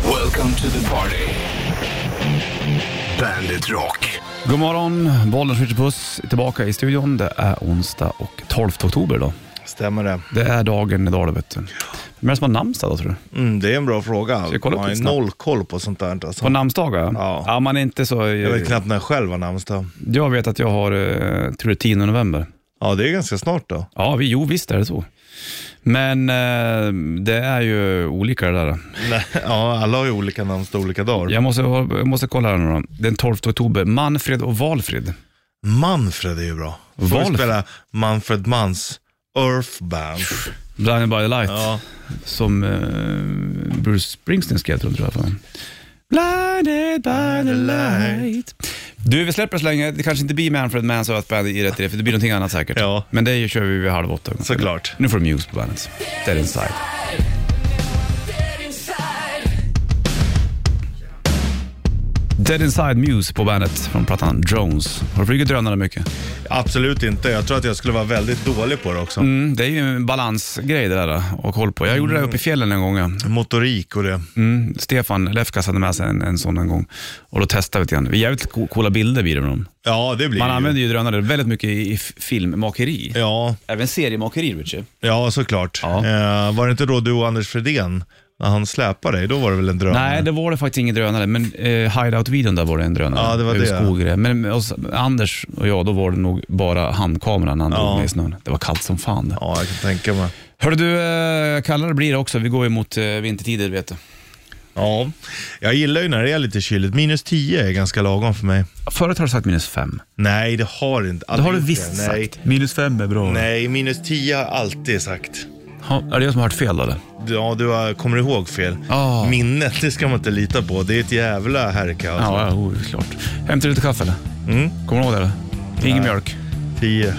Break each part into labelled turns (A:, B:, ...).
A: Welcome to the party. Bandit Rock.
B: God morgon, Bollnäs Ritchie-puss är tillbaka i studion. Det är onsdag och 12 oktober idag.
C: Stämmer det?
B: Det är dagen idag då vet du. Vem är det som har namnsdag då tror du?
C: Mm, det är en bra fråga.
B: jag kolla upp
C: Man har
B: lite
C: ju
B: snabbt?
C: noll koll på sånt där. Alltså.
B: På namnsdagar?
C: Ja.
B: ja. man är inte så...
C: Jag vet knappt när jag själv har namnsdag.
B: Jag vet att jag har, eh, tror det är 10 november.
C: Ja, det är ganska snart då.
B: Ja, vi, jo visst är det så. Men eh, det är ju olika det där.
C: Nej, ja, alla har ju olika namnsdag olika dagar.
B: Jag måste, jag måste kolla här nu då. Den 12 oktober, Manfred och Valfrid.
C: Manfred är ju bra. Får
B: Valf-
C: vi spela Manfred Manns Earth Band.
B: Blinded by the light,
C: Ja,
B: som eh, Bruce Springsteen skrev till dem tror jag. Fan. Blinded by the light. Du, vi släpper det så länge. Det kanske inte blir Manfred Mans och Earth Band i rätt riff. Det blir någonting annat säkert.
C: Ja.
B: Men det kör vi vid halv åtta.
C: såklart.
B: Nu får du Muse på bandet. Dead Inside. Dead Inside Muse på bandet från plattan Drones. Har du flugit drönare mycket?
C: Absolut inte. Jag tror att jag skulle vara väldigt dålig på det också.
B: Mm, det är ju en balansgrej det där och koll på. Jag gjorde det uppe i fjällen en gång. ja.
C: Motorik och det.
B: Mm, Stefan Lefkas hade med sig en, en sån en gång och då testade vi lite grann. Det är Jävligt co- coola bilder blir det med dem.
C: Ja, det blir
B: Man
C: ju.
B: använder ju drönare väldigt mycket i i f- filmmakeri.
C: Ja,
B: Även seriemakeri, Richie.
C: ja såklart.
B: Ja.
C: Eh, var det inte då du och Anders Fredén, när han släpade dig, då var det väl en dröm?
B: Nej, det var det faktiskt ingen drönare, men eh, hideout-videon där var det en drönare.
C: Ja, det var
B: Över
C: det.
B: skog och grejer. Men med oss, Anders och jag, då var det nog bara handkameran han
C: Ja.
B: drog med i snön. Det var kallt som fan. det.
C: Ja, jag kan tänka mig.
B: Hörru du, eh, kallare blir det också. Vi går ju mot eh, vintertider, vet du.
C: Ja, jag gillar ju när det är lite kyligt. Minus 10 är ganska lagom för mig.
B: Förut har du sagt minus fem.
C: Nej, det har det inte.
B: Det
C: Aldrig
B: har du
C: gjort
B: visst
C: det. Nej.
B: sagt. Minus fem är bra.
C: Nej, minus 10 har jag alltid sagt.
B: Ha, är det jag som har hört fel då, eller?
C: Ja, du har, kommer ihåg fel.
B: Ja.
C: Minnet, det ska man inte lita på. Det är ett jävla härkaos.
B: Ja, ja oh, klart. Hämtar du lite kaffe eller?
C: Mm.
B: Kommer du ihåg det eller? Ingen mjölk.
C: 10.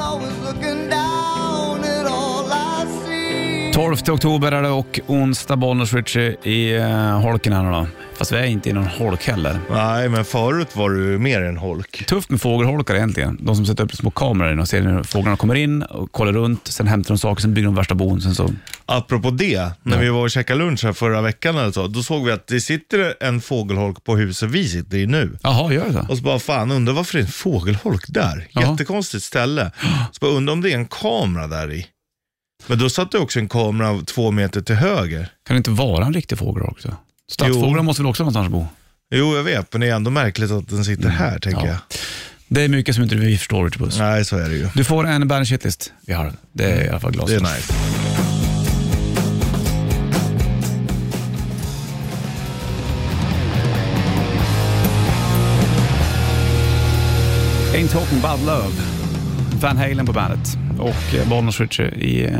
D: always looking down at all I see.
B: 12 oktober är det och onsdag Bollnäs Ritchie i eh, holken här nu då. Fast vi är inte i någon holk heller.
C: Nej, men förut var du mer än holk.
B: Tufft med fågelholkar egentligen. De som sätter upp små kameror in och ser när fåglarna kommer in och kollar runt. Sen hämtar de saker, sen bygger de värsta bon. Sen så...
C: Apropå det, när vi var och käkade lunch här förra veckan eller så, då såg vi att det sitter en fågelholk på huset vi sitter i nu.
B: Jaha, gör det så?
C: Och så bara, fan undrar varför det är en fågelholk där?
B: Ja.
C: Jättekonstigt ställe. Så bara, undrar om det är en kamera där i. Men då satt det också en kamera av två meter till höger.
B: Kan det inte vara en riktig fågelholk då? Stadsfåglar
C: Jo.
B: måste väl också någonstans bo?
C: Jo, jag vet, men det är ändå märkligt att den sitter här, tänker
B: Mm. Ja.
C: jag.
B: Det är mycket som inte vi förstår Ritchie Puss.
C: Nej, så är det ju.
B: Du får en Bandit Shitlist vid halv. Det är i alla fall
C: Det
B: glasklart.
C: är nice.
B: Ain't talking about love. Van Halen på bandet och eh, Bollnäs Ritchie i eh,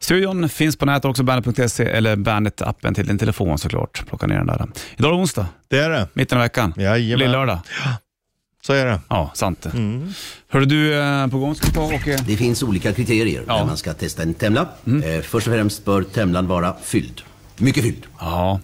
B: studion. Finns på nätet också, bandet.se eller bandet-appen till din telefon såklart. Plocka ner den där. Idag är det onsdag,
C: Det är det.
B: mitten av veckan.
C: Jajamän. Mm.
B: Lill-lördag.
C: Så är det.
B: Ja, sant det. Hörru du, eh, på gång ska vi ta och... eh,
E: Det finns olika kriterier
B: Ja.
E: när man ska testa en temla. Eh, först och främst bör temlan vara fylld. Mycket fylld.
B: Ja.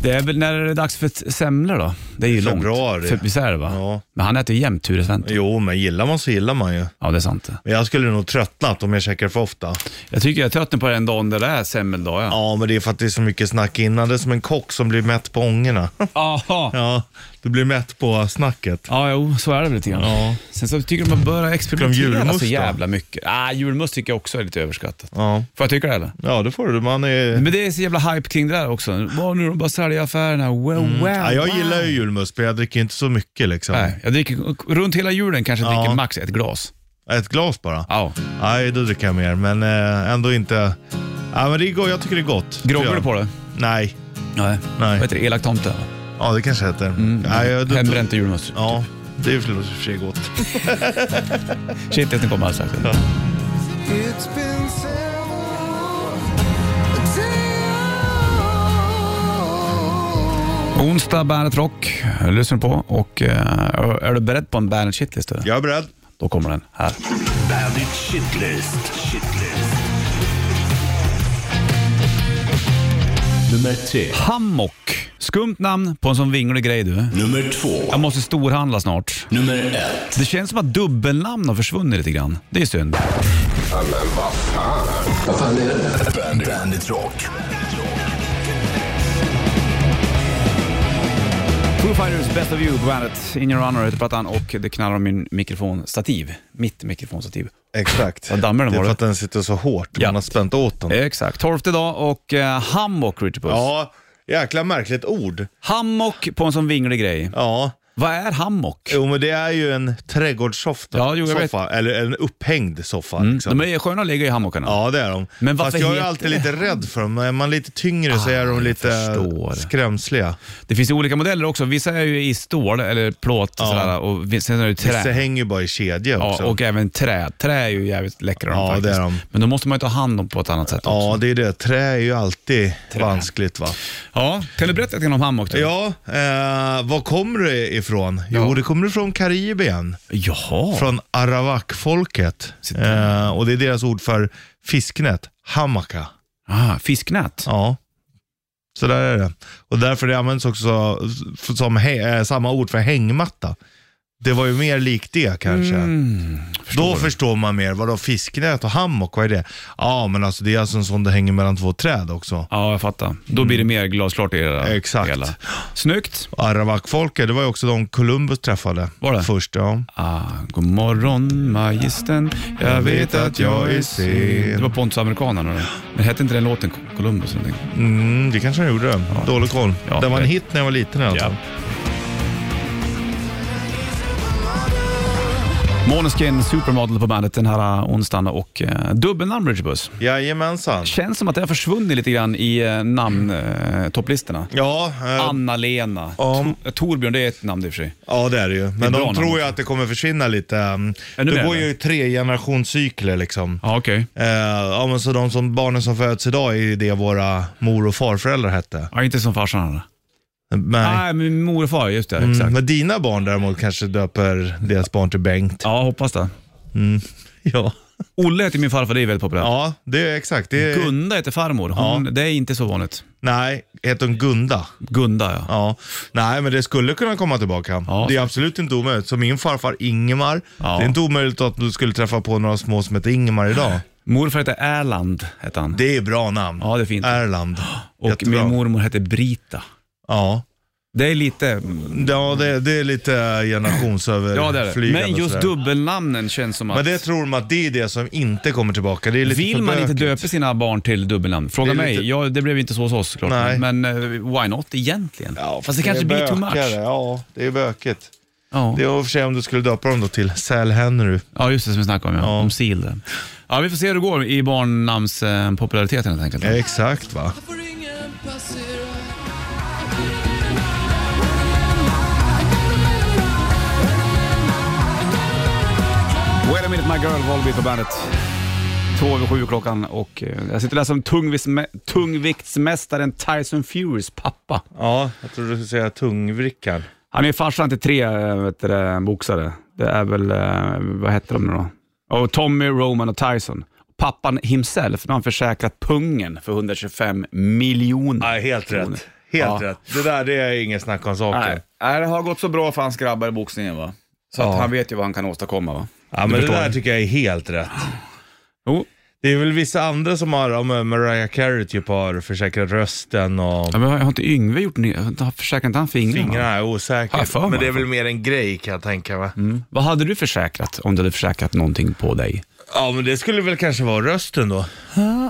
B: Det är väl när det är dags för ett semlor då? Det är ju långt.
C: Februari.
B: Fe- Visst är det va?
C: Ja.
B: Men han äter ju jämt Ture Sventon.
C: Jo, men gillar man så gillar man ju.
B: Ja, det är sant det.
C: Men jag skulle nog tröttnat om jag käkar för ofta.
B: Jag tycker jag tröttnar på den dagen där det är semmeldag. Ja.
C: Ja, men det är för att det är så mycket snack innan. Det är som en kock som blir mätt på ångorna.
B: Aha.
C: ja, du blir mätt på snacket.
B: Ja, jo, så är det väl lite grann.
C: Ja.
B: Sen så tycker de att man börjar
C: Tycker de
B: experimentera
C: julmust
B: så
C: då?
B: jävla mycket. Ah, julmust tycker jag också är lite överskattat.
C: Ja,
B: Får jag tycka det eller?
C: ja det får du. Man är...
B: Men det är så jävla hype kring det där också. Vad nu de bara säljer i affärerna. Wow, wow,
C: Mm. Ja, jag
B: wow.
C: gillar ju julmust, men jag dricker inte så mycket liksom.
B: Nej, jag dricker runt hela julen kanske jag
C: Ja.
B: dricker max ett glas.
C: Ett glas bara.
B: Ja.
C: Nej, då dricker jag mer, men eh, ändå inte. Ja, men det är gott. Jag tycker det är gott.
B: Groggar
C: Ja.
B: du på det?
C: Nej.
B: Nej.
C: Nej.
B: Vad heter det? Elak tomte?
C: Ja, det kanske heter. Nej, jag, då-
B: Mm. Hembränt och julmust.
C: Ja, det är ju för sig gott.
B: Shit, jag kommer alldeles strax.
D: It's been several days.
B: Onsdag, Bandet Rock lyssnar du på och eh, är du beredd på en Bandet Shitlist? eller?
C: Jag är beredd.
B: Då kommer den här.
A: Bandit Shitlist. Shitlist. Nummer tre.
B: Hammock. Skumt namn på en sån vinglig grej du.
A: Nummer två.
B: Jag måste storhandla snart.
A: Nummer ett.
B: Det känns som att dubbelnamn har försvunnit lite grann. Det är synd.
A: Bandit, Bandit rock.
B: Foo Fighters Best of You på bandet. In your honor heter plattan och det knallar om min mikrofonstativ. Mitt mikrofonstativ.
C: Exakt.
B: Vad dammar den
C: det är
B: var
C: för
B: det?
C: att den sitter så hårt.
B: Ja. Eh.
C: Man har spänt åt den.
B: Exakt. Torftig dag och eh, hammock, Richard Puss.
C: Mm. Ja, jäkla märkligt ord.
B: Hammock på en sån vinglig grej.
C: Ja,
B: Vad är hammock?
C: jo, men det är ju en trädgårdssoffa.
B: Ja, jo, jag vet. Mm.
C: soffa, eller en upphängd soffa. liksom.
B: De är ju sköna att ligga i hammockarna.
C: Ja, det är de.
B: Men varför
C: Fast jag är
B: heter
C: alltid
B: det- Ah,
C: lite rädd för dem. Är man lite tyngre så är de lite
B: förstår.
C: skrämsliga.
B: Det finns ju olika modeller också. Vissa är ju i stål eller plåt och
C: Ja.
B: sådär. Och vi- sen är det ju
C: Vissa
B: trä.
C: hänger ju bara i kedja
B: Ja,
C: också.
B: och även trä. Trä är ju jävligt läckra de
C: Ja,
B: faktiskt.
C: det är de.
B: Men då måste man ju ta hand om på ett annat sätt också.
C: Ja, det är det. Trä är ju alltid
B: Trä.
C: vanskligt va.
B: Ja, kan du berätta lite grann om hammock då?
C: Ja, eh, var kommer det ifrån?
B: Ja.
C: Jo, det kommer från Karibien.
B: Jaha.
C: Från arawakfolket.
B: Sitt
C: Eh, och det är deras ord för fisknät, hamaka.
B: Ah, fisknät.
C: Ja, så där är det. Och därför det används också som hä- eh, samma ord för hängmatta. Det var ju mer likt det kanske.
B: Mm,
C: Då förstår man mer. Vadå fisknät och hammock, vad är det? Ja, men alltså det är alltså en sån där hänger mellan två träd också.
B: Ja, jag fattar. Då blir det mer glasklart i det där
C: Exakt.
B: hela. Snyggt.
C: Arawakfolket, det var ju också de Columbus träffade.
B: Var det?
C: Först, ja.
B: Ah, god morgon magistern, jag vet att jag är sen. Det var Pontus Amerikanerna då. Men hette inte den låten Columbus eller någonting?
C: Mm, det kanske han gjorde. Dålig koll.
B: Ja,
C: det var en
B: det-
C: hit när jag var liten i alla fall.
B: Måneskin Supermodel på bandet den här eh, onsdagen och eh, dubbelnamn Richard Puss.
C: Jajamensan.
B: Känns som att det har försvunnit lite grann i eh, namntopplistorna. Eh, topplistorna.
C: Ja, eh,
B: Anna-Lena.
C: Ja.
B: Tor- Torbjörn, det är ett namn i och för sig.
C: ja, det är det ju.
B: är
C: Men
B: bra
C: de
B: namn
C: tror
B: också.
C: ju att det kommer försvinna lite. mm.
B: Ännu
C: Det
B: mer,
C: går
B: eller?
C: ju i tre generationscykler liksom.
B: Ja, okej.
C: Eh, ja, men så de som, barnen som föds idag är ju det våra mor och farföräldrar hette.
B: Ja, inte som farsan hade.
C: Nej.
B: Nej, min mor och far, just det. Exakt.
C: Mm, men dina barn däremot kanske döper deras barn till Bengt.
B: Ja, hoppas det.
C: Ja,
B: Olle heter min farfar, det är väldigt populärt.
C: ja det är exakt. Det är,
B: Gunda heter farmor. Hon, Det är inte så vanligt.
C: nej, heter hon Gunda?
B: Gunda, ja.
C: Ja. Nej, men det skulle kunna komma tillbaka.
B: Ja.
C: Det är absolut inte omöjligt. Så min farfar Ingemar,
B: Ja.
C: det är inte omöjligt att du skulle träffa på några små som heter Ingemar idag.
B: Morfar heter Erland, heter han.
C: Det är bra namn.
B: Ja, det är fint.
C: Erland.
B: och
C: Jättebra.
B: min mormor heter Brita.
C: Ja,
B: Det är lite...
C: ja det, det är lite generationsöverflygande.
B: Ja, det är det. Men
C: och
B: just
C: sådär.
B: dubbelnamnen känns som att...
C: Men det tror man att det är det som inte kommer tillbaka. Det är lite
B: Vill
C: för
B: man inte
C: bökigt.
B: döpa sina barn till dubbelnamn? Fråga
C: Det är
B: mig.
C: lite-
B: Ja, det blev inte så hos oss klart.
C: Nej.
B: Men eh, why not egentligen?
C: Ja,
B: Fast det, kanske
C: är
B: blir too
C: bökigare.
B: much.
C: Ja, det är bökigt.
B: Ja.
C: Det är i och för sig om du skulle döpa dem då till Sal Henry.
B: ja, just det som vi snackade om. Ja.
C: Ja.
B: Om sil. där. Ja, vi får se hur det går i barnnamnspopulariteten helt enkelt.
C: Exakt va.
B: Wait a minute my girl, Volbeat på bandet. Två över sju klockan och eh, jag sitter och läser om tungvis- tungviktsmästaren Tyson Furys pappa.
C: Ja, jag trodde du skulle säga tungvrickar.
B: Han är farsan till tre eh, vet du, det, boxare. Det är väl, eh, vad heter de nu då? Och Tommy, Roman och Tyson. Pappan himself, nu har han försäkrat pungen för 125 miljoner.
C: Nej, helt
B: kronor.
C: rätt. Helt
B: Ja.
C: rätt. Det där det är inget snack om saker.
B: Nej. Nej, det har gått så bra för hans grabbar i boxningen va? Så att
C: Ja.
B: han vet ju vad han kan åstadkomma va?
C: Ja,
B: Du
C: men det
B: förstår.
C: där tycker jag är helt rätt.
B: Jo.
C: Det är väl vissa andra som har, ja, men Mariah Carey typ har försäkrat rösten och
B: Ja, men har inte Yngve gjort ny... har- Försäkrat inte han fingrarna?
C: fingrarna är
B: Har jag
C: osäkert.
B: för mig Mm.
C: Men det
B: i
C: är
B: alla fall.
C: väl mer en grej kan jag tänka mig.
B: Vad hade du försäkrat om du hade försäkrat någonting på dig?
C: Ja, men det skulle väl kanske vara rösten då.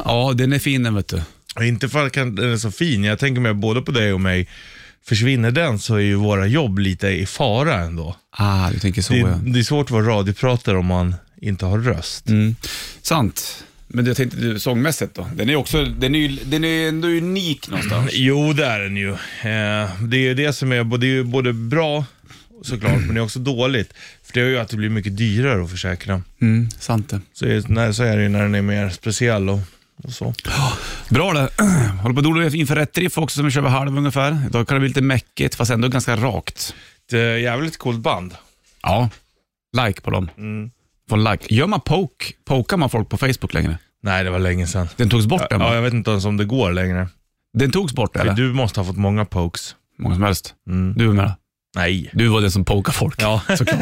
B: Ja, den är fin den vet du.
C: Inte för att kan- den är så fin. Jag tänker mig både på dig och mig. Försvinner den så är ju våra jobb lite i fara ändå.
B: Ah, du tänker så
C: Det,
B: ja.
C: det är svårt att vara radiopratare om man inte har röst.
B: Mm. Sant. Men jag tänkte du, sångmässigt då? Den är, också, den är, ju- den är ändå unik någonstans.
C: Jo, det är den ju. Eh, det är ju det som är, det är ju både bra såklart, men det är också dåligt. För det gör ju att det blir mycket dyrare att försäkra.
B: Mm, sant det.
C: Så är, när, så är det ju när den är mer speciell och, och så.
B: Bra det. Håller på att dola inför rätt riff också som vi kör vid halv ungefär. Idag kan det bli lite mäckigt fast ändå ganska rakt.
C: Det är jävligt coolt band.
B: Ja. Like på dem.
C: Mm.
B: Få en like. Gör man poke, pokar man folk på Facebook längre?
C: Nej, det var länge sedan.
B: Den togs bort den
C: Ja,
B: va?
C: jag vet inte ens om det går längre.
B: Den togs bort eller?
C: Du måste ha fått många pokes.
B: Många som helst.
C: Mm.
B: Du med?
C: Nej.
B: Du var den som pokade folk.
C: Ja.
B: Såklart.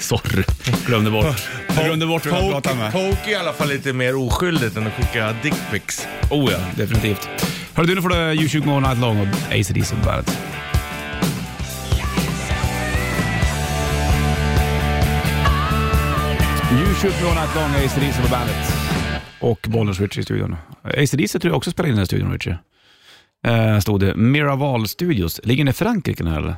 B: Sorry, glömde bort. Glömde bort hur jag pratade
C: Poke,
B: med.
C: poke är i alla fall lite mer oskyldigt än att skicka dickpics.
B: Oh ja, definitivt. Hörru du, nu får du U20 All Night Long och ACDC på bandet. U20 All Night Long och ACDC på bandet. Och Bollnäs Richie i studion. ACDC tror jag också spelar in den här studion, Richie. Eh, stod det. Miraval Studios. Ligger den i Frankrike den här eller?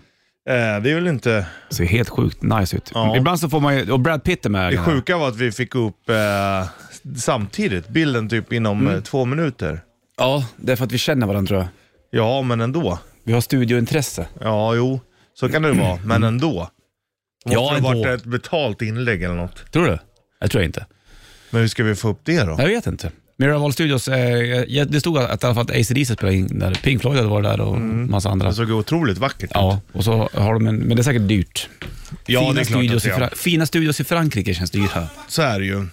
C: Eh, det är väl inte...
B: Ser helt sjukt nice ut.
C: Ja.
B: Ibland så får man ju, och Brad Pitt är med.
C: Det sjuka var att vi fick upp eh, samtidigt bilden typ inom eh, två minuter.
B: Ja, det är för att vi känner varandra tror jag.
C: Ja, men ändå.
B: Vi har studiointresse.
C: Ja, jo. Så kan det ju vara, men ändå. Det
B: Ja,
C: måste ha
B: ändå.
C: varit ett betalt inlägg eller något.
B: Tror du? Jag tror inte.
C: Men hur ska vi få upp det då?
B: Jag vet inte. Miraval Studios, eh, ja, det stod att, i alla fall att AC/DC spelade in där. Pink Floyd hade varit där och
C: Mm.
B: massa andra.
C: Det såg ju otroligt vackert ut.
B: Ja, och så har de en, men det är säkert dyrt.
C: Ja,
B: fina,
C: det är klart att
B: studios
C: det
B: i
C: är.
B: Fra- fina studios i Frankrike känns dyra.
C: Så är det ju.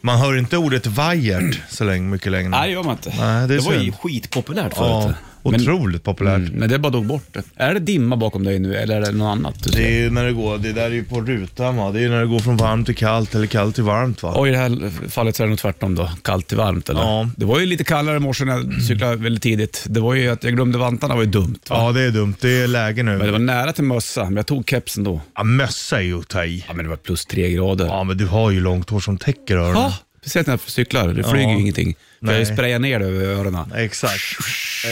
C: Man hör inte ordet vajert så länge, mycket längre.
B: Nej, det gör man inte.
C: Nej, det är
B: det var ju
C: synd.
B: skitpopulärt
C: ja,
B: förut. Mm,
C: otroligt populärt.
B: men, men det bara dog bort. Är det dimma bakom dig nu eller är det något annat? Du
C: Det
B: ser?
C: är ju när det går, det där är ju på rutan va. Det är ju när det går från varmt till kallt eller kallt till varmt va.
B: Och i det här fallet så är det nog tvärtom då. Kallt till varmt eller?
C: Ja.
B: Det var ju lite kallare i morse när jag cyklade väldigt tidigt. Det var ju att jag glömde vantarna, var ju dumt. Va?
C: Ja, det är dumt. Det är läge
B: Men det
C: nu.
B: var nära till mössa, men jag tog kepsen då.
C: Ja, mössa är ju att ta i.
B: Ja, men det var plus tre grader.
C: Ja, men du har ju långt hår som täcker öronen.
B: Ja, speciellt när jag cyklar. Det flyger
C: Ja.
B: ju ingenting. För jag
C: Nej.
B: sprayar ner det över öronen.
C: Exakt.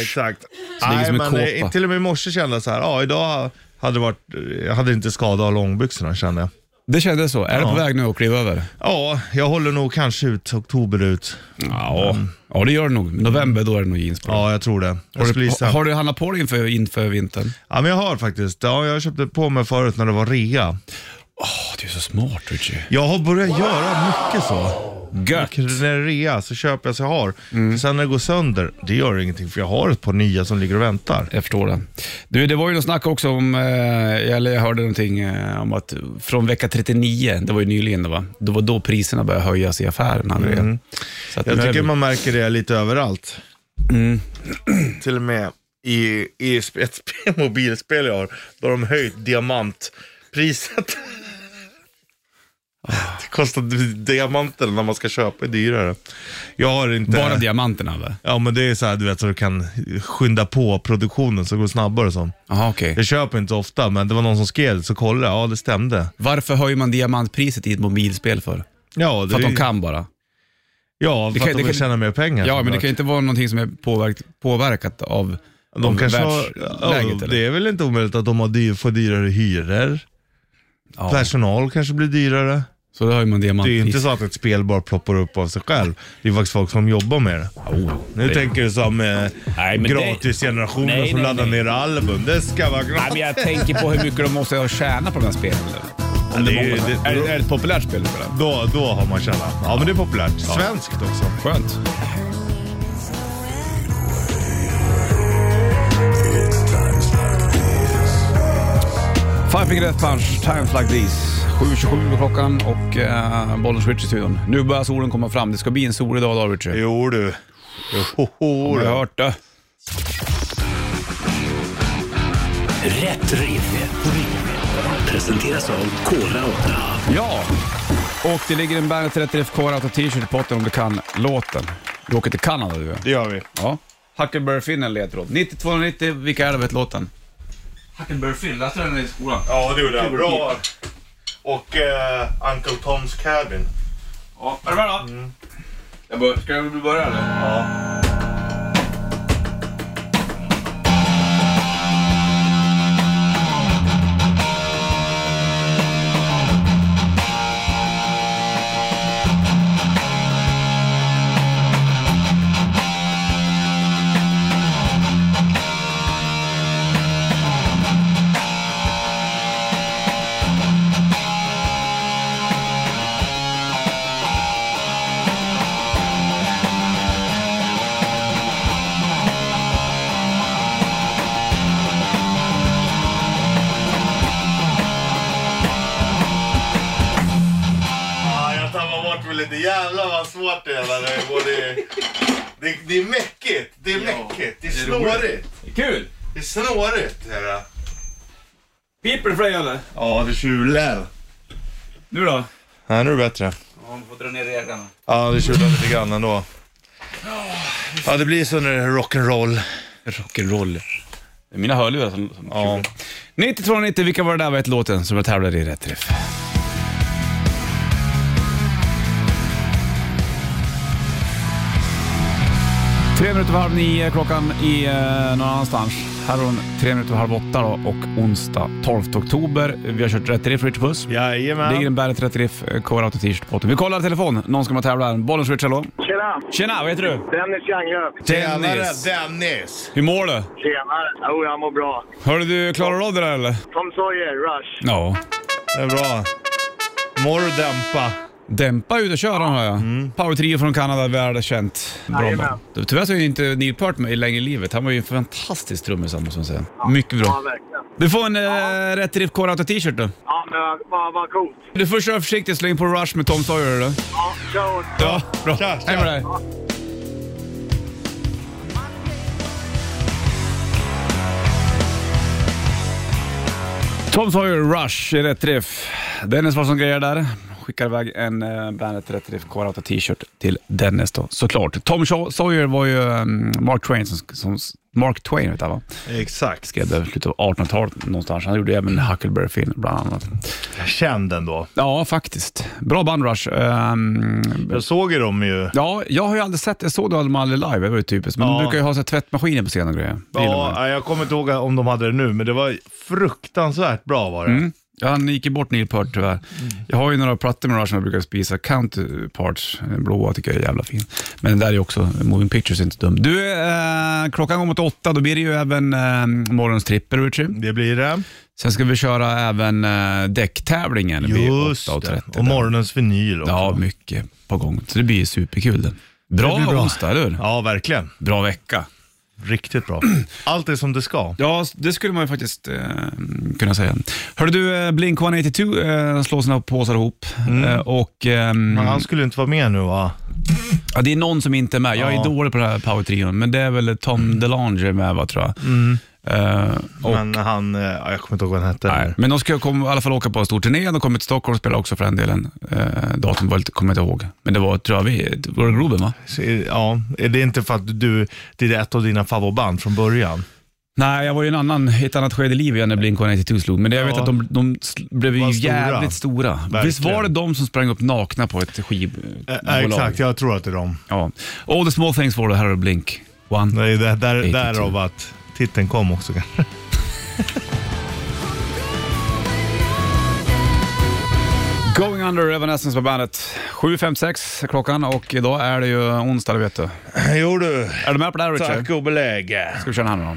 C: Exakt.
B: ligger
C: Nej,
B: som en
C: men eh,
B: kåpa.
C: till och med i morse kände jag så här, ja idag hade det varit, jag hade inte skadat av långbyxorna kände jag.
B: Det kändes så. Är du på väg nu att kliva över?
C: Ja, jag håller nog kanske ut oktober ut.
B: Ja, ja det gör det nog. November, då är det nog jeans på dig.
C: Mm. Ja, jag tror det. Jag
B: Har
C: skulle
B: du,
C: gissa.
B: har du handlat på dig inför, inför vintern?
C: Ja, men jag har faktiskt. Ja, jag köpte på mig förut när det var rea.
B: Åh, du är så smart Richie.
C: Jag har börjat göra mycket så.
B: Gött.
C: När det är rea så köper jag så jag har.
B: Mm.
C: För sen när det går sönder, det gör ingenting för jag har ett par nya som ligger och väntar.
B: Jag förstår det. Du, det var ju något snack också om, eh, eller jag hörde någonting eh, om att från vecka 39, det var ju nyligen det va? Det var då priserna började höjas i affärerna. Mm. Så att nu
C: Jag
B: är
C: tycker
B: vi-
C: man märker det lite överallt.
B: Mm.
C: Till och med i, i ett sp- mobilspel jag har, då har de höjt diamantpriset.
B: Ah.
C: Det kostar diamanten när man ska köpa är dyrare. Jag har inte...
B: Bara diamanterna va?
C: Ja men det är så här du vet så du kan skynda på produktionen så det går snabbare så.
B: Jaha okej.
C: Jag köper inte ofta men det var någon som skrev det, så kollade jag, ja det stämde.
B: Varför höjer man diamantpriset i ett mobilspel för?
C: Ja, det,
B: För att de kan bara?
C: Ja, för
B: kan-
C: att
B: det
C: de vill
B: kan-
C: tjäna mer pengar.
B: Ja, men det
C: såklart.
B: kan ju inte vara någonting som är påverkat, påverkat av,
C: De
B: av
C: kanske har,
B: världsläget.
C: ja,
B: eller?
C: det är väl inte omöjligt att de har dy- får dyrare hyror.
B: Ja.
C: Personal kanske blir dyrare.
B: Så då höjer man
C: Det är ju
B: diamantpriset.
C: inte så att ett spel bara ploppar upp av sig själv. Det är faktiskt folk som jobbar med det. nu tänker du som eh,
B: Oh, Nej, men det-
C: gratisgenerationen
B: Nej,
C: som
B: nej,
C: laddar
B: nej.
C: ner album. Det ska vara
B: Nej,
C: gratis.
B: men jag tänker på hur mycket de måste ha tjänat på de här spelen. nu. Om
C: det
B: det
C: är
B: är,
C: ju-
B: många.
C: det-
B: är, det- är det ett populärt spel? För det?
C: Då, då har man tjänat. Ja, men det är populärt. Svenskt också.
B: Skönt. Five Finger Death Punch, Times Like These. 7.27 är klockan och uh, bollen switch i studion. Nu börjar solen komma fram. Det ska bli en solig dag idag, Richard.
C: Jo du. Jo, ho,
B: Har
C: du.
B: du hört det?
A: Rätt riff. Rätt riff. Presenteras av Kora 8.
B: Ja, och det ligger en Bandet 30 FK Rauta t-shirt på potten om du kan låten. Du åker till Kanada du.
C: Det gör vi.
B: Ja. Huckleberry Finn är en ledtråd. 9290, vilka är det vet låten? Huckleberry Finn, läste du den i skolan?
C: Ja, det gjorde jag. Bra. Och eh, Uncle Tom's Cabin.
B: Ja. Är du med då? Jag bör- ska du börja eller?
C: Ja, jag tappar bort mig lite. Jävlar vad svårt det är när det går i... Det, det är mäckigt. Det är mäckigt. Det är
B: det är roligt.
C: snårigt.
B: Kul!
C: Det är snårigt. är det.
B: Piper för dig eller?
C: Ja, det tjular.
B: Nu då?
C: Nej, nu är det bättre.
B: Hon får dra ner reglerna.
C: Ja, det tjurar lite grann ändå. Ja, det blir så när det är rock'n'roll.
B: Rock'n'roll. Det är Mina hörlurar som, som ja. 9290, vilka var det där var ett låten som jag tävlade i rätt träff? Tre minuter över halv nio klockan i eh, någon annanstans. Här är hon tre minuter över halv åtta då, och onsdag 12 oktober. Vi har kört rätt riff, Richard Puss.
C: Jajamän.
B: Ligger en Bandet rätt riff, eh, Core Auto T-shirt på botten. Vi kollar telefon. Någon ska man tävla här. Bollen switch, hallå?
F: Tjena!
B: Tjena, vad heter du?
F: Dennis Janglöf.
C: Tjenare Dennis!
B: Hur mår du?
F: Tjenare! Jo, jag mår bra.
B: Hörde du, klarar du av det där eller?
F: Tom Sawyer, Rush.
B: Ja.
C: Det är bra. Mår du dämpa?
B: Dämpa ut och köra hör jag. Power trio från Kanada, välkänt. Bra
F: Jajamän.
B: band. Du, Tyvärr så är ju inte Neil Peart med längre i livet. Han var ju en fantastisk trummis måste man säga. Mycket
F: Ja,
B: bra.
F: verkligen.
B: Du får en eh, Rätt Riff Core Auto T-shirt då.
F: Ja, men vad, vad coolt.
B: Du får köra försiktigt, slå in på Rush med Tom Sawyer då.
F: Ja, kör hårt.
B: Ja, bra.
C: Tja, tja.
B: Hej med dig. Tom Sawyer, Rush, i rätt träff. Dennis var som grejer där. Skickar iväg en eh, Bandet Rätt Riff Core Auto t-shirt till Dennis då, såklart. Tom Shaw- Sawyer var ju eh, Mark Twain som, som Mark Twain vet jag, va?
C: Exakt.
B: skrev där i slutet av 1800-talet någonstans. Han gjorde även Huckleberry Finn bland annat.
C: Känd ändå.
B: Ja, faktiskt. Bra band Rush. Ehm,
C: Jag såg ju dem ju.
B: Ja, jag har ju aldrig sett, jag såg dem aldrig live, det var ju typiskt. Men
C: Ja.
B: de brukar ju ha så här tvättmaskiner på scenen och grejer. Det gillar man.
C: Ja, jag kommer inte ihåg om de hade det nu, men det var fruktansvärt bra var det.
B: Ja, Han gick ju bort Neil Peart tyvärr.
C: Mm.
B: Jag har ju några plattor med Rush som jag brukar spisa. Counterparts, den blåa tycker jag är jävla fin. Men den där är ju också, Moving Pictures är inte dum. Du, eh, klockan går mot åtta, då blir det ju även eh, morgons trippel, Richie.
C: Det blir det.
B: Sen ska vi köra även eh, däcktävlingen vid
C: Just
B: 8.30.
C: det. Och morgonens vinyl också.
B: Ja, mycket på gång. Så det blir ju superkul. det. Bra,
C: blir bra.
B: onsdag, eller hur?
C: Ja, verkligen.
B: Bra vecka.
C: Riktigt bra. Allt är som det ska.
B: Ja, det skulle man ju faktiskt eh, kunna säga. Hörde du, eh, Blink-182 eh, slår sina påsar ihop.
C: Mm.
B: Eh, och, ehm,
C: Men han skulle inte vara med nu va?
B: ja, det är någon som inte är med. Jag är
C: Ja. Mm.
B: dålig på den här power-trion, men det är väl Tom DeLonge är med va, tror jag. Eh, och,
C: Men han, eh, ja, jag kommer inte ihåg vad han hette.
B: nej. Men de ska komma, i alla fall åka på en stor turné. De kommer till Stockholm och spelar också för den delen. Eh, datum var lite, kommer jag inte ihåg. Men det var, tror jag, vi, det var Groben va?
C: Så, eh, Ja, är det inte för att du, det är ett av dina favoritband från början?
B: Nej, jag var ju en annan, i ett annat skede i livet när Blink-182 slog, men det, jag vet
C: Ja.
B: att de, de sl- blev ju
C: Var stora.
B: jävligt stora. Visst var det
C: Verkligen.
B: de som sprang upp nakna på ett
C: Eh,
B: skivbolag?
C: eh, exakt, jag tror att det är dem.
B: Ja. All the small things for the Harold Blink. One.
C: Det är där, där,
B: 82.
C: därav att titeln kom också kanske.
B: Going Under, Evanescence på bandet. 7.56 klockan och idag är det ju onsdag, det vet du.
C: Jo du,
B: Är du med på det här Richard?
C: tack och belägg.
B: Ska vi köra den här nu då?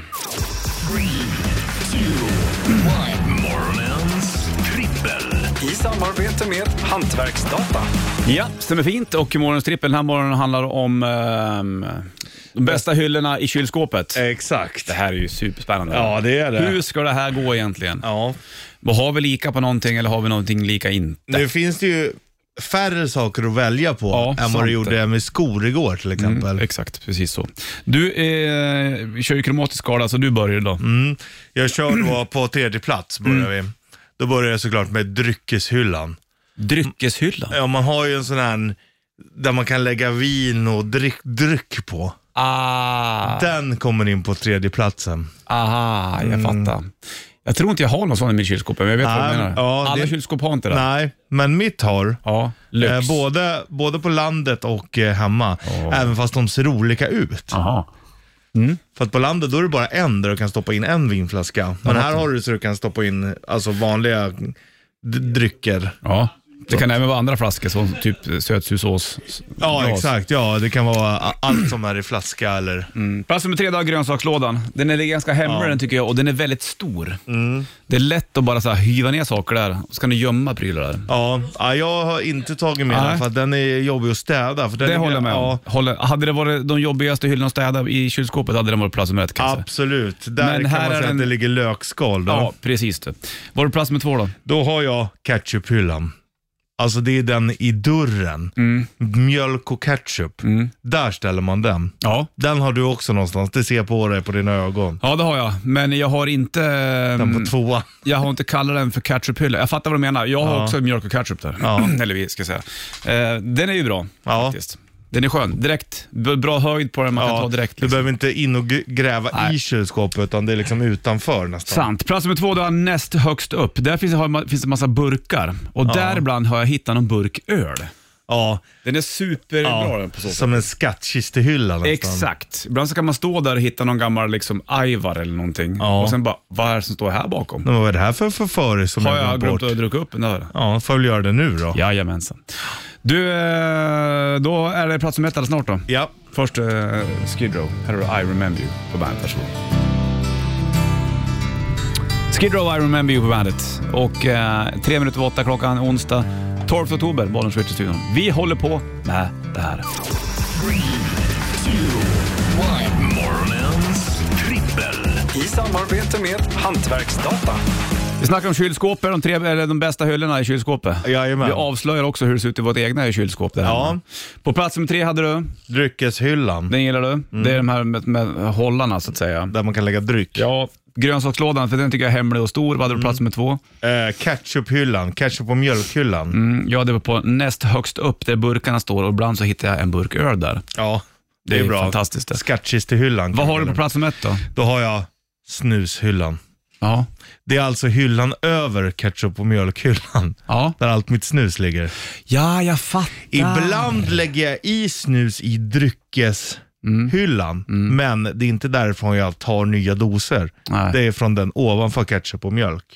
A: Morgonens trippel.
G: I samarbete med Hantverksdata.
B: Ja, stämmer fint. Och morgonens trippel den här morgonen handlar om ehm, de bästa hyllorna i kylskåpet.
C: Exakt.
B: Det här är ju superspännande.
C: Ja, det är det.
B: Hur ska det här gå egentligen?
C: Ja,
B: Vad Har vi lika på någonting eller har vi någonting lika inte?
C: nu finns det ju färre saker att välja på
B: Ja,
C: än
B: sant
C: vad
B: det. Mm,
C: du gjorde med skor igår till exempel.
B: Exakt, precis så. Du eh, vi kör ju kromatisk skala, så du börjar idag.
C: Mm. Jag kör då på tredje plats
B: Mm.
C: börjar vi. Då börjar jag såklart med dryckeshyllan.
B: Dryckeshyllan.
C: Ja, man har ju en sån här där man kan lägga vin och dryck, dryck på.
B: Ah,
C: Den kommer in på tredje platsen.
B: aha, jag fattar. Jag tror inte jag har någon sån i mitt kylskåp, men jag vet vad du
C: Mm. Nej,
B: menar.
C: ja,
B: Alla
C: det-
B: kylskåp har inte det.
C: Nej, men mitt har,
B: Ja, lyx.
C: eh, både, både på landet och eh, hemma, även fast de ser olika ut.
B: Aha.
C: För att på landet då är det bara en där du kan stoppa in en vinflaska. Men här har du så du kan stoppa in alltså vanliga d- drycker.
B: Ja. Det kan även vara andra flaskor, som typ sötsusås.
C: Ja,
B: glas.
C: exakt. Ja, det kan vara a- allt som är i flaska eller...
B: Plats nummer tre då, grönsakslådan. Den är ganska hemlig den tycker jag och den är väldigt stor.
C: Mm.
B: Det är lätt att bara så här, hyva ner saker där och så kan du gömma prylar där.
C: Ja, ja, jag har inte tagit med
B: Nej.
C: den för att den är jobbig att städa. För den
B: Det
C: är-
B: håller jag med om.
C: ja,
B: Håller, hade det varit de jobbigaste hyllorna att städa i kylskåpet hade den varit plats nummer ett
C: Alltså.
B: kanske.
C: Absolut. Där
B: Men
C: kan
B: här
C: man
B: är
C: säga
B: den-
C: att det ligger lökskal. Då,
B: Ja, precis det. Var det plats nummer två då?
C: då har jag ketchuphyllan. Alltså det är den i dörren. Mjölk och ketchup. Där ställer man den.
B: Ja.
C: Den har du också någonstans. Det ser jag på dig på dina ögon.
B: Ja, det har jag. Men jag har inte... ehm,
C: Den på tvåan.
B: Jag har inte kallat den för ketchuphylla. Jag fattar vad du menar. Jag har också mjölk och ketchup där. Eller vi, ska jag säga. Eh, den är ju bra
C: Ja.
B: faktiskt. Den är skön. Direkt. B- Bra höjd på den man kan ta direkt.
C: Du
B: Liksom.
C: behöver inte in och gr- gräva i kylskåpet utan det är liksom utanför nästan.
B: Sant. Plats nummer två, du har näst högst upp. Där finns, har, ma- finns det massa burkar och däribland har jag hittat någon burk öl.
C: Ja,
B: Den är superbra den på så sätt.
C: som en skattkistehylla nästan.
B: Exakt. Ibland så kan man stå där och hitta någon gammal liksom, Ivar eller någonting
C: Ja.
B: och sen bara, vad är det som står här bakom?
C: Men vad är det här för förföre som
B: Har
C: jag
B: jag
C: glömt bort?
B: glömt att dricka upp den där?
C: Ja, får jag väl göra det nu då.
B: Jajamensan. Du, eh, då är det plats nummer ett alldeles snart då.
C: Ja.
B: Först eh, Skid Row. Här har du I Remember You på bandet. Varsågod. Skid Row I Remember You på bandet. Och eh, tre minuter över åtta klockan onsdag 12 oktober, Bollens Ritz i studion. Vi håller på med det här.
A: Morgonens trippel.
G: I samarbete med Hantverksdata.
B: Vi snackar om kylskåpet, de, tre, eller de bästa hyllorna i kylskåpet.
C: Jajamän.
B: Vi avslöjar också hur det ser ut i vårt egna kylskåp. Där
C: Ja.
B: hemma. På plats nummer tre hade du,
C: Dryckeshyllan.
B: den gillar du. Det är de här med, med hållarna så att säga.
C: Där man kan lägga dryck.
B: Ja, Mm. grönsakslådan, för den tycker jag är hemlig och stor. Vad hade du på plats nummer två?
C: Eh, ketchuphyllan. Ketchup och mjölkhyllan.
B: Mm, ja, det var på näst högst upp där burkarna står och ibland så hittar jag en burk öl där.
C: Ja, det,
B: Det
C: är
B: är
C: bra.
B: fantastiskt det.
C: Skattkistehyllan. kan
B: Vad har
C: man
B: du på
C: kalla
B: plats nummer ett då?
C: den. Då har jag snushyllan.
B: Ja.
C: Det är alltså hyllan över ketchup och mjölkhyllan.
B: Ja,
C: Där allt mitt snus ligger.
B: ja jag fattar.
C: Ibland lägger jag i snus i dryckeshyllan,
B: Mm.
C: men det är inte därifrån jag tar nya doser.
B: Nej.
C: Det är från den ovanför ketchup och mjölk.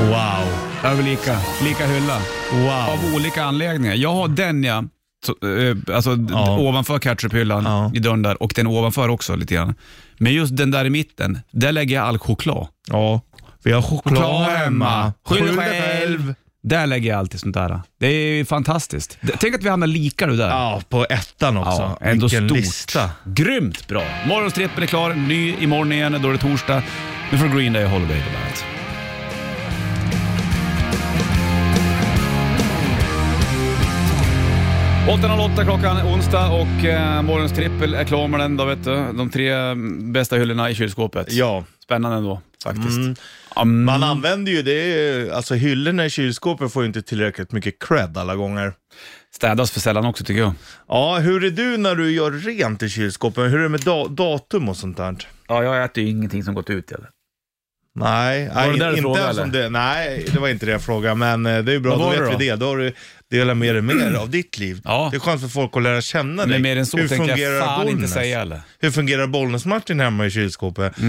C: Wow,
B: Över lika, lika hylla.
C: wow.
B: Av olika anläggningar. Jag har den ja, så, eh, alltså d-
C: Ja.
B: ovanför ketchuphyllan
C: Ja.
B: i dörren där och den ovanför också lite grann. Men just den där i mitten, där lägger jag all choklad.
C: Ja, vi har choklad hemma.
B: Skyll dig själv. Där lägger jag alltid sånt där. Det är fantastiskt. D- Tänk att vi hamnar lika du där.
C: Ja, på ettan också.
B: Ja, ändå
C: Vilken
B: stort.
C: lista.
B: Grymt bra! Morgonstrippen är klar, ny imorgon igen, då är det torsdag. Nu får Green Day och Holiday på bandet. klockan onsdag och eh, morgons trippel är klar med den då vet du. De tre mm, bästa hyllorna i kylskåpet.
C: Ja.
B: Spännande ändå faktiskt. Mm.
C: Man använder ju det, är ju- alltså hyllorna i kylskåpet får ju inte tillräckligt mycket cred alla gånger.
B: Städas för sällan också tycker jag.
C: Ja, hur är du när du gör rent i kylskåpet? Hur är det med da- datum och sånt där?
B: Ja, jag äter ju ingenting som gått ut eller.
C: Nej, nej
B: det där du
C: inte
B: frågade,
C: som
B: eller?
C: det. Nej, det var inte det jag frågade, men eh, det är ju bra,
B: Vad
C: då
B: var det då?
C: vet vi det. Då har du delat med dig mer av ditt liv.
B: Ja.
C: Det är skönt för folk att lära känna dig.
B: Men mer än så
C: Hur
B: tänker
C: fungerar
B: jag fan inte
C: Bollnäs?
B: säga eller. Mm.
C: Hur fungerar Bollnäs-Martin hemma i kylskåpet? Eh,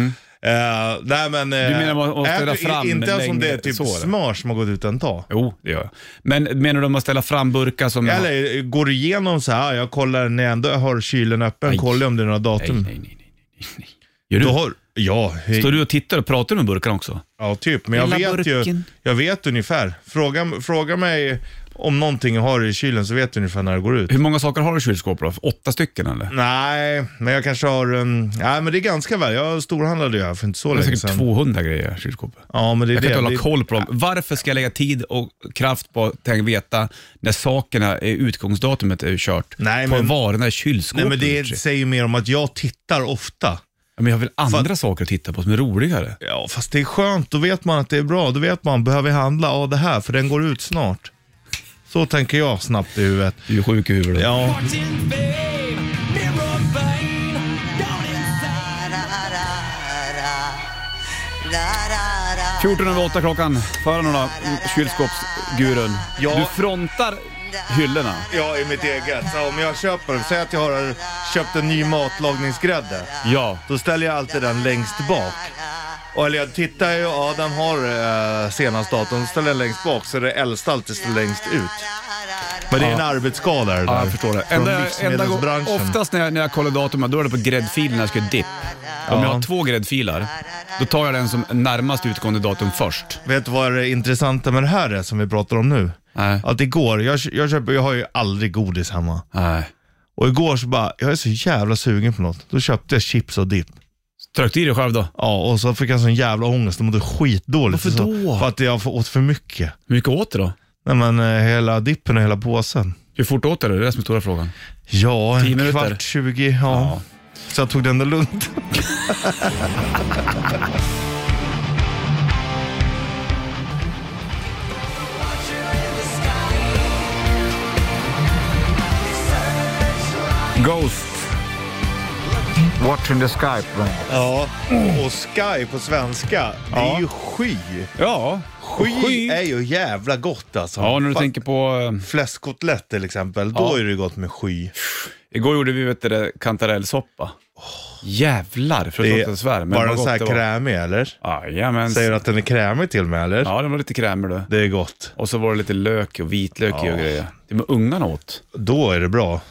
C: nej men... eh,
B: Du menar man måste
C: är
B: ställa
C: du-
B: fram
C: Inte ens om
B: längre
C: det är typ
B: så, eller?
C: smör som har gått ut en dag.
B: Jo, det gör jag. Men menar du om att ställa fram burkar som...
C: Eller eh, går du igenom så här, jag kollar när jag ändå har kylen öppen,
B: Nej.
C: kollar jag om det är några
B: Nej,
C: datum.
B: nej, nej. nej, nej, nej. Gör du?
C: Då har, ja, hej.
B: Står du och tittar och pratar med burkarna också?
C: ja, typ. Men jag
B: Lilla
C: vet, ju,
B: burken.
C: jag vet ungefär. Fråga, fråga mig om någonting jag har i kylen så vet du ungefär när det går ut.
B: Hur många saker har du i kylskåpet då? Åtta stycken eller?
C: Mm, Nej, men jag kanske har... Um, nej, men det är ganska väl. Jag storhandlade ju här för inte så
B: Det är
C: länge
B: säkert
C: sedan.
B: 200 grejer i kylskåpet.
C: Ja, men liksom. det är
B: Jag kan
C: det.
B: inte
C: det,
B: hålla koll på dem. Varför ska jag lägga tid och kraft på att tänka- veta när sakerna, är utgångsdatumet är kört?
C: Nej,
B: på
C: men-
B: varorna i kylskåpet?
C: Nej, men det
B: Richie?
C: säger ju mer om att jag tittar ofta.
B: Ja, men jag har väl andra saker att titta på som är roligare?
C: Ja, fast det är skönt. Då vet man att det är bra. Då vet man, behöver jag handla av det här? För den går ut snart. Så tänker jag snabbt i huvudet.
B: Du är ju sjuk i huvudet.
C: Ja,
D: Fjol
B: 14 över 8 klockan. Föra några kylskåpsgurun.
C: Ja.
B: Du frontar hyllorna.
C: ja i mitt eget. Så om jag köper, säg att jag har köpt en ny matlagningsgrädde.
B: Ja.
C: Då ställer jag alltid den längst bak. Och eller jag tittar ju, ja den har eh, senast datum, så ställer jag längst bak så är det äldsta alltid står längst ut. Men det är en arbetsskada det där.
B: Ja, jag förstår det.
C: Från
B: Enda, enda gång,
C: livsmedelsbranschen.
B: oftast när jag, när jag kollar datumen, då är det på gräddfilen när jag ska göra dipp. Om jag har två gräddfiler, då tar jag den som närmast utgående datum först.
C: Vet du vad det intressanta med det här är som vi pratar om nu?
B: Nej.
C: Att igår, jag, jag, köper, jag har ju aldrig godis hemma.
B: Nej.
C: Och igår så bara, jag är så jävla sugen på något. Då köpte jag chips och dipp.
B: Tryckte i dig själv då?
C: Ja, och så fick jag sån jävla ångest och mådde skitdåligt.
B: Varför
C: Så-
B: då?
C: För att jag åt för mycket.
B: Hur mycket åt du då?
C: Nej men eh, hela dippen och hela påsen.
B: Hur fort åt du det? Det är det som är stora frågan.
C: Ja,
B: Tio
C: en
B: minuter?
C: kvart, 20. Ja. Så jag tog det ändå lugnt.
G: Ghost. Watching the sky på den.
C: Ja. Och sky på svenska, det är ju sky.
B: Ja.
C: Sky,
B: Sky.
C: är ju jävla gott alltså.
B: Ja, när du
C: Fan,
B: tänker på... eh,
C: Fläskkotlett till exempel,
B: Ja.
C: då är det gott med sky.
B: Igår gjorde vi vet du, det, kantarellsoppa. Jävlar, för
C: Det
B: att
C: är,
B: det svär.
C: var den
B: vad
C: så
B: gott
C: här
B: det var.
C: krämig eller?
B: Jajamän.
C: Säger du att den är krämig till och med eller?
B: Ja, den var lite krämig du.
C: Det är gott.
B: Och så var det lite lök och vitlök i och grejer. Det var ungarna åt.
C: Då är det bra.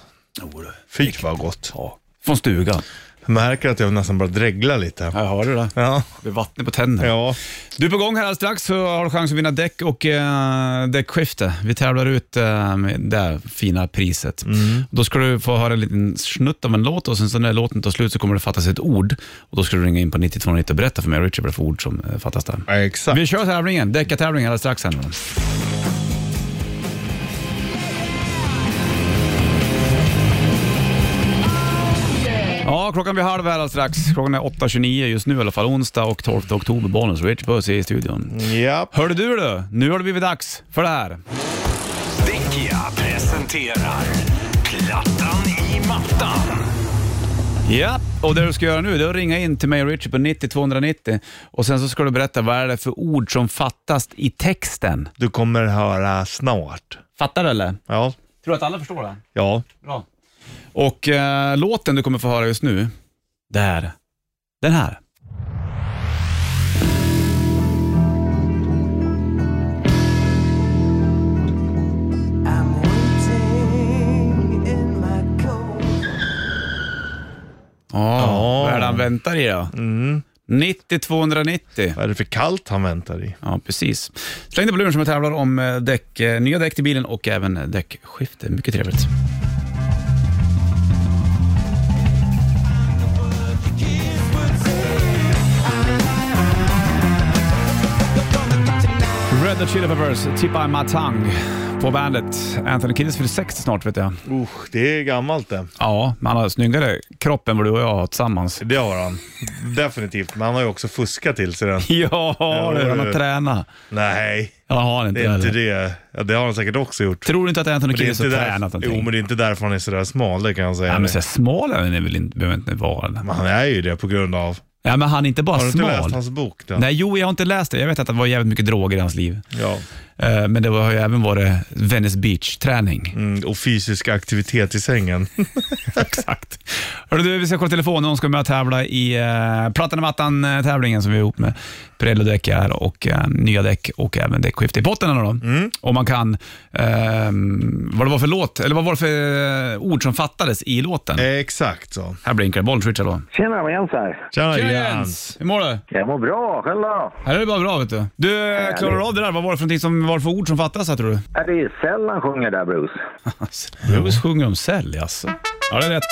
C: Fy vad gott.
B: Ja. Från stugan.
C: Jag märker att jag nästan bara dreglar lite.
B: Här har du det.
C: Ja.
B: Det blir vattnet på tänderna.
C: Ja.
B: Du är på gång här alldeles strax så har du chans att vinna däck och eh, däckskifte. Vi tävlar ut eh, med det här fina priset. Då ska du få höra en liten snutt av en låt och sen så när låten tar slut så kommer det fattas ett ord. Och Då ska du ringa in på 9290 och berätta för mig Richard vad det är för ord som eh, fattas där.
C: Ja, exakt.
B: Vi kör tävlingen, deckartävlingen alldeles strax. Här. nu. Ja, klockan blir halv här alldeles strax. Klockan är 8.29 just nu i alla fall, onsdag och 12 oktober. Bonus Rich Puss i studion.
C: Ja.
B: Hörde du du, nu har det blivit dags för det här.
G: Dickia presenterar Plattan i mattan.
B: Ja, och det du ska göra nu det är att ringa in till mig och Richard på 90 290 och sen så ska du berätta vad är det för ord som fattas i texten.
C: Du kommer höra snart.
B: Fattar du eller?
C: Ja.
B: Tror du att alla förstår det?
C: Ja.
B: Bra. Och eh, låten du kommer få höra just nu, det är den här.
D: I'm waiting in my cold.
B: Ja, Mm. vad är det han väntar i då? 90 290.
C: Vad är det för kallt han väntar i?
B: Ja, precis. Släng dig på luren som jag tävlar om eh, däck, eh, nya däck till bilen och även eh, däckskifte. Mycket trevligt. Red Hot Chili Peppers, Tip I My Tongue på bandet. Anthony Kiddis fyller 60 snart vet jag.
C: Usch, det är gammalt det.
B: Ja, men han har snyggare kropp än vad du och jag har tillsammans.
C: Det har han. Definitivt. Men han har ju också fuskat till sig den.
B: Ja, du, han har
C: du.
B: tränat.
C: Nej,
B: Ja, har han inte
C: det är inte
B: eller?
C: det. Ja, det har han säkert också gjort.
B: Tror du inte att Anthony
C: Men det är
B: Kiddis har
C: inte där-
B: tränat någonting?
C: Jo, men det är inte därför han är sådär smal, det kan jag säga.
B: Ja, men
C: dig.
B: så här, smal är han väl inte, behöver inte vara. eller?
C: Men han är ju det på grund av...
B: Ja, men han är inte bara
C: Har du inte läst
B: smal.
C: hans bok? Då?
B: Nej, jo, jag har inte läst det. Jag vet att det var jävligt mycket droger i hans liv.
C: Ja.
B: Eh, Men det har ju även varit Venice Beach-träning.
C: Mm, och fysisk aktivitet i sängen.
B: Exakt. Hörru, du, vi ska kolla telefonen. Hon ska med och tävla i eh, Plattan i mattan-tävlingen som vi är ihop med Pirello däck här och eh, nya däck och även däckskifte i botten. Eller då.
C: Mm.
B: Och man kan... Eh, vad det var för låt, eller vad var det för eh, ord som fattades i låten?
C: Eh, Exakt så.
B: Här blinkar det. Bollswitch, hallå.
H: Tjena, Jens här.
C: Tjena
B: Tjena
C: Jens!
B: Jens! Hur mår du?
H: Jag mår bra, själv då?
B: Här är det bara bra vet du. Du, klarar du av det där? Vad var det för, någonting som, vad var det för ord som fattades här tror du?
H: Är det är sällan sjunger där, Bruce.
B: Bruce sjunger om sälj alltså. Ja, det är rätt.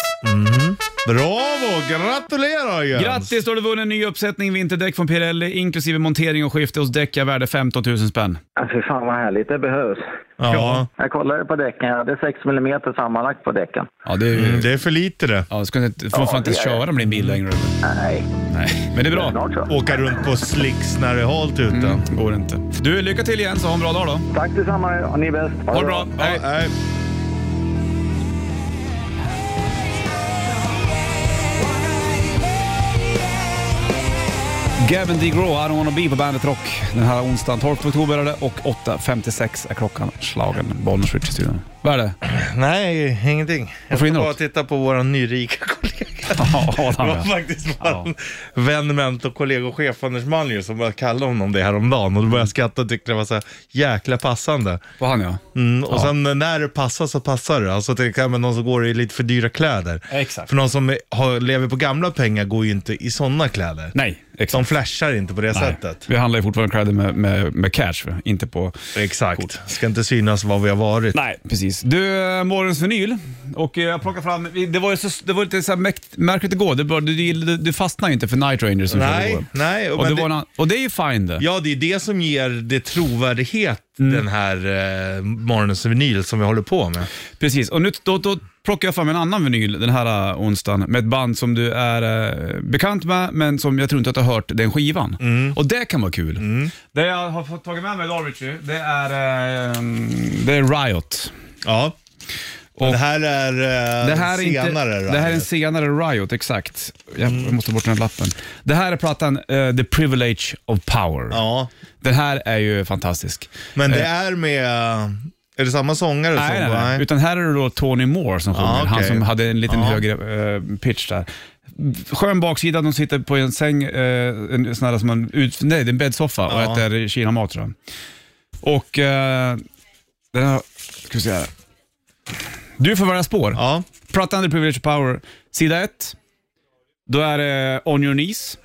C: Bravo! Gratulerar Jens!
B: Grattis, då har du vunnit en ny uppsättning vinterdäck från Pirelli inklusive montering och skifte hos Däcka värde 15 000 spänn.
H: Ja, Fy fan vad härligt, det behövs.
C: Ja,
H: Jag kollade på däcken, jag hade 6 mm sammanlagt på däcken.
B: Ja, det är ju...
C: mm, det är för lite det.
B: Ja, ska inte, får man fan inte
H: det är-
B: köra med din bil längre.
H: Nej,
B: Nej, men det är bra.
H: snart så.
C: Åka runt på slicks när det är halt ute.
B: Går inte. Du, lycka till igen så ha en bra dag då.
H: Tack detsamma, och ni är bäst.
B: Ha det bra. Hej.
C: Ja, nej.
B: Gavin D. Groh, I don't wanna be på Bandet Rock. Den här onsdagen, 12 oktober är det och 8.56 är klockan slagen. Bollnäs Rich i studion. Vad är det?
C: Nej, ingenting. Jag
B: Varför
C: får bara
B: inåt?
C: titta på vår nyrika kollega.
B: Ja, Adam,
C: Det var
B: ja.
C: faktiskt
B: Ja.
C: vår vän, mentor, kollega och chef Anders Malmgren som började kalla honom det häromdagen. Och då började jag skratta och tyckte det var så här jäkla passande.
B: På han ja.
C: Mm, och sen när det passar så passar det. Alltså till exempel någon som går i lite för dyra kläder.
B: Exakt.
C: För någon som är- har, lever på gamla pengar går ju inte i sådana kläder.
B: Nej, Exakt.
C: De flashar inte på det sättet.
B: Vi handlar ju fortfarande kläder med, med, med cash, va? inte på...
C: Exakt. Ska inte synas vad vi har varit.
B: Nej, precis. Du, eh, morgons vinyl. Och eh, jag plockar fram, det var ju så, det var lite så här mäkt, märkligt igår. Det var, du, du, du fastnade ju inte för Night Rangers som körde
C: Nej,
B: igår.
C: nej,
B: Och
C: men
B: det, var en,
C: det-
B: annan- och det är ju fine det.
C: Ja, det är det som ger det trovärdighet,
B: Mm.
C: den här eh, morgonens vinyl som vi håller på med.
B: Precis, och nu då, då plockar jag fram en annan vinyl den här eh, onsdagen med ett band som du är eh, bekant med, men som jag tror inte att du har hört den skivan. Och det kan vara kul. Det jag har fått tagit med mig idag Richie, det är, eh, det är Riot.
C: Ja. Och
B: Och-
C: det här är, eh,
B: Det här är,
C: senare.
B: inte,
C: då.
B: det här är en senare Riot, Mm. exakt. Jag jag måste ta bort den här lappen. Det här är plattan eh, The Privilege of Power.
C: Ja,
B: Den här är ju fantastisk.
C: men det är med... Är det samma sångare?
B: Eh. Nej,
C: som,
B: nej, nej. Utan här är det då Tony Moore som sjunger.
C: Ja, Ah, okej.
B: Han som hade en liten
C: Ja.
B: högre eh, pitch där. Skön baksida, de sitter på en säng, eh, en sån här som en, ut, nej, det är en bäddsoffa
C: Ja.
B: och äter kinamat tror jag. Och eh, den här, ska vi se här. Du får välja spår.
C: Ja,
B: Prata under privilege power. Sida 1, då är det On Your Knees,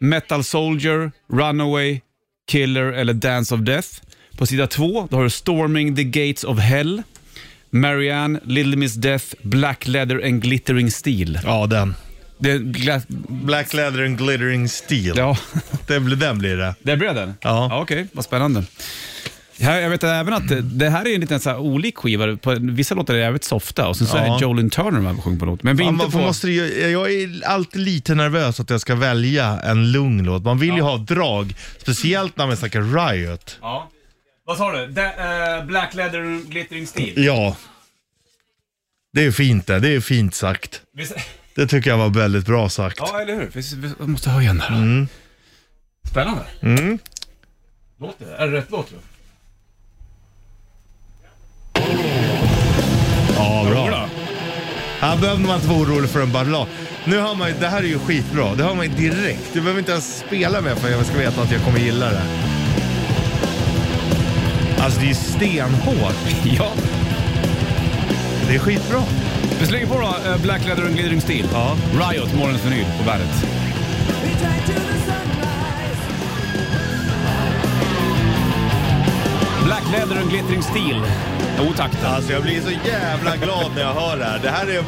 B: Metal Soldier, Runaway, Killer eller Dance of Death. På sida 2, då har du Storming the Gates of Hell, Marianne, Little Miss Death, Black Leather and Glittering Steel.
C: ja den.
B: Det, är gla-
C: Black Leather and Glittering Steel.
B: ja,
C: Det blir, den blir det.
B: där blev den.
C: Ja.
B: ja Okej, vad spännande. Här, jag vet även att det, det här är en liten så här olik skiva. På, vissa låtar är jävligt softa och sen så
C: Ja.
B: är Jolin Turner med och sjunger på en låt. Men vi är
C: Ja,
B: inte
C: man,
B: på...
C: får- måste, ju- jag, jag är alltid lite nervös att jag ska välja en lugn låt. Man vill ju ha drag, speciellt när man snackar Riot.
B: Ja. Vad sa du? eh, black leather glittering steel?
C: Ja. Det är fint det, det är fint sagt. Det tycker jag var väldigt bra sagt.
B: Ja, eller hur? Vi, vi jag måste höja den där. Mm. Spännande. Mm. Låter det? Är det rätt låt tror
C: Ja, bra. Här behövde man inte vara orolig för en ballad. Nu har man ju, det här är ju skitbra. Det har man ju direkt. Du behöver inte ens spela med för att jag ska veta att jag kommer gilla det. Alltså det är ju stenhårt.
B: Ja.
C: Det är skitbra.
B: Vi slänger på då, eh, Black Leather and Glittering Steel.
C: Ja.
B: Riot, morgonens vinyl på bandet. Black Leather and Glittering Steel. Jo tack.
C: Alltså jag blir så jävla glad när jag hör det här. Det här är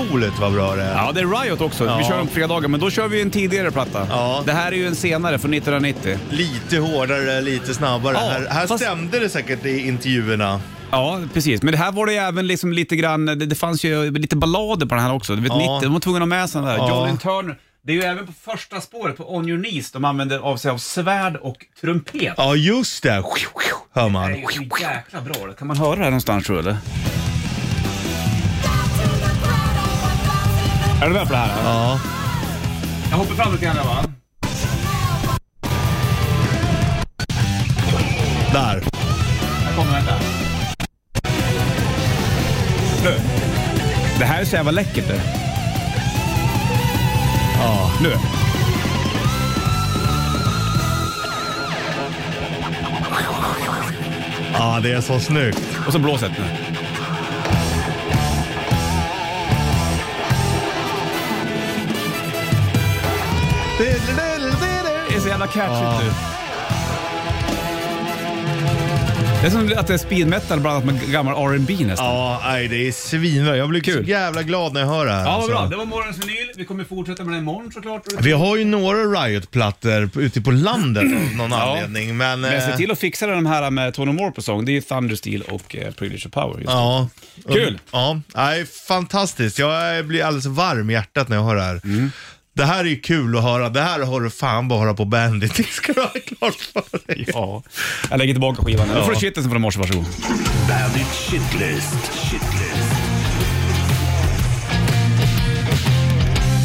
C: otroligt vad bra det är.
B: Ja, det är Riot också. Vi
C: Ja.
B: kör dem på fredagar, men då kör vi en tidigare platta.
C: Ja.
B: Det här är ju en senare, från 1990.
C: Lite hårdare, lite snabbare.
B: Ja,
C: här här
B: fast-
C: stämde det säkert i intervjuerna.
B: Ja, precis. Men det här var det ju även liksom lite grann, det, det fanns ju lite ballader på den här också. Du vet,
C: Ja.
B: 90, de var tvungna att ha med sig den där.
C: Ja.
B: Jolin Turner. Det är ju även på första spåret, på On Your Knees, de använder av sig av svärd och trumpet.
C: Ja, just det. Hör man.
B: Det är ju så jäkla bra. Kan man höra det här någonstans tror du? eller? Är du med på det här?
C: Ja.
B: Jag hoppar fram lite grann där, va?
C: Där.
B: Jag kommer, vänta. Nu. Det här är så jävla läckert det.
C: Ja.
B: Nu.
C: ja, det är så snyggt.
B: Och så blåset nu. Det är så jävla typ. catchigt nu. Det är som att det är speed metal blandat med gammal R&B nästan.
C: Ja, nej, det är svinbra. Jag blir
B: Kul.
C: så jävla glad när jag hör det här.
B: Ja, vad
C: alltså.
B: bra. Det var morgonens vinyl. Vi kommer fortsätta med den imorgon såklart.
C: Vi har ju några Riot-plattor på- ute på landet av någon
B: Ja.
C: anledning, men...
B: Men
C: eh,
B: se till att fixa de här med Tony Moore på sång. Det är ju Thunder Steel och eh, Privilege of Power. Just.
C: Ja.
B: Kul.
C: Ja, nej, fantastiskt. Jag blir alldeles varm i hjärtat när jag hör det här.
B: Mm.
C: Det här är ju kul att höra. Det här har du fan bara på Bandit. Det ska du ha klart för dig.
B: Ja. Jag lägger tillbaka skivan. Nu får du shitlisten från i morse, varsågod.
A: Bandit Shitlist. Shitlist.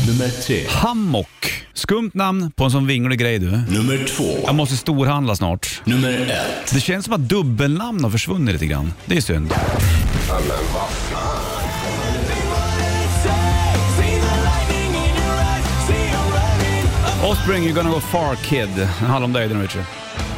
E: Nummer tre.
B: Hammock. Skumt namn på en sån vinglig grej du.
A: Nummer två.
B: Jag måste storhandla snart.
A: Nummer ett.
B: Det känns som att dubbelnamn har försvunnit lite grann. Det är synd. Offspring, you're gonna go far kid. Det handlar om dig den Richard.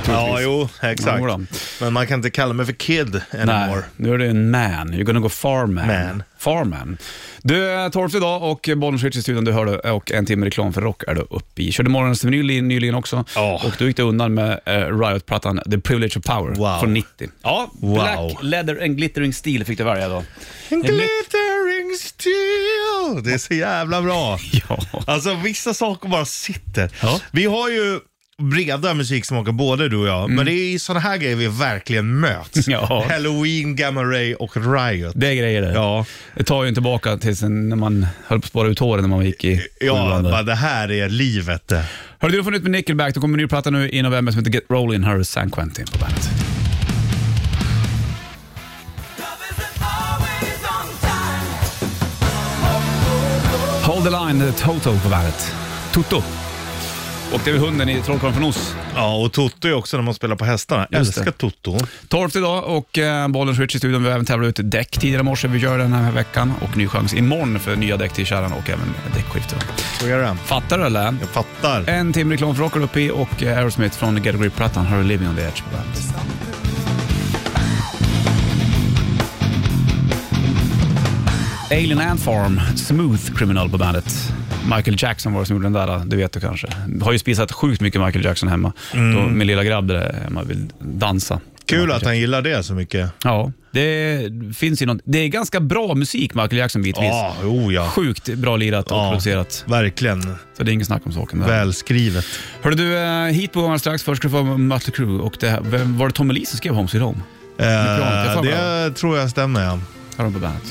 C: Ja, jo, exakt.
B: Jodå.
C: Men man kan inte kalla mig för kid anymore.
B: Nej, nu är du en man. You're gonna go farman.
C: Man.
B: Farman. Du, torrt idag och Bollnäs i studion, du hör det. Och en timme reklam för rock är du uppe i. Körde morgonens vinyl nyligen också.
C: Ja.
B: Och du gick det undan med eh, Riot-plattan The Privilege of Power
C: Wow.
B: från 90. Ja,
C: Wow.
B: Black Leather and Glittering Steel fick du välja då.
C: Glittering steel! Det är så jävla bra.
B: Ja.
C: Alltså vissa saker bara sitter.
B: Ja.
C: Vi har ju breda musiksmaker både du och jag, men det är i sådana här grejer vi verkligen möts.
B: Mm. Ja.
C: Halloween, Gamma Ray och Riot.
B: Det är grejer det.
C: Ja,
B: Det tar ju inte tillbaka till sen när man höll på att spara ut håren när man gick i
C: ja
B: sjuan där.
C: bara det här är livet det.
B: Hörru du, du får nytt med Nickelback. Det kommer en ny platta nu i november som heter Get Rollin'. Här är San Quentin på bandet. Hold the line, eh, Toto på bandet. Toto. Och det är väl hunden i Trollkarlen från Oz.
C: Ja, och Toto är också när man spelar på hästarna. Jag
B: Just det.
C: älskar Toto.
B: Torft idag och eh, bollen switch i studion. Vi har även tävlat ut däck tidigare i morse. Vi gör det den här veckan och ny chans imorgon för nya däck till kärran och även däckskifte.
C: Så är det.
B: Fattar du eller?
C: Jag fattar.
B: En timme reklam för rockar upp i och eh, Aerosmith från Get a Grip-plattan. Har du Living on the Edge på bandet. Alien Ant Farm, Smooth Criminal på bandet. Michael Jackson var det som gjorde den där, eh, du vet du kanske. Har ju spisat sjukt mycket Michael Jackson hemma.
C: Mm.
B: Då min lilla grabb där hemma vill dansa.
C: Kul att han gillar det så mycket.
B: Ja, det finns ju något. Det är ganska bra musik Michael Jackson bitvis.
C: Ja, oh, ja.
B: Sjukt bra lirat och
C: Ja.
B: producerat.
C: Verkligen.
B: Så det är inget snack om saken. Där.
C: Välskrivet.
B: Hörru du, eh, hit på gång strax. Först ska du få Mötley Crüe och det här, vem, var det Tommy Lee som skrev Home Sweet Home?
C: Eh,
B: Mycket bra, det får
C: det tror jag stämmer ja.
B: Här har de på bandet.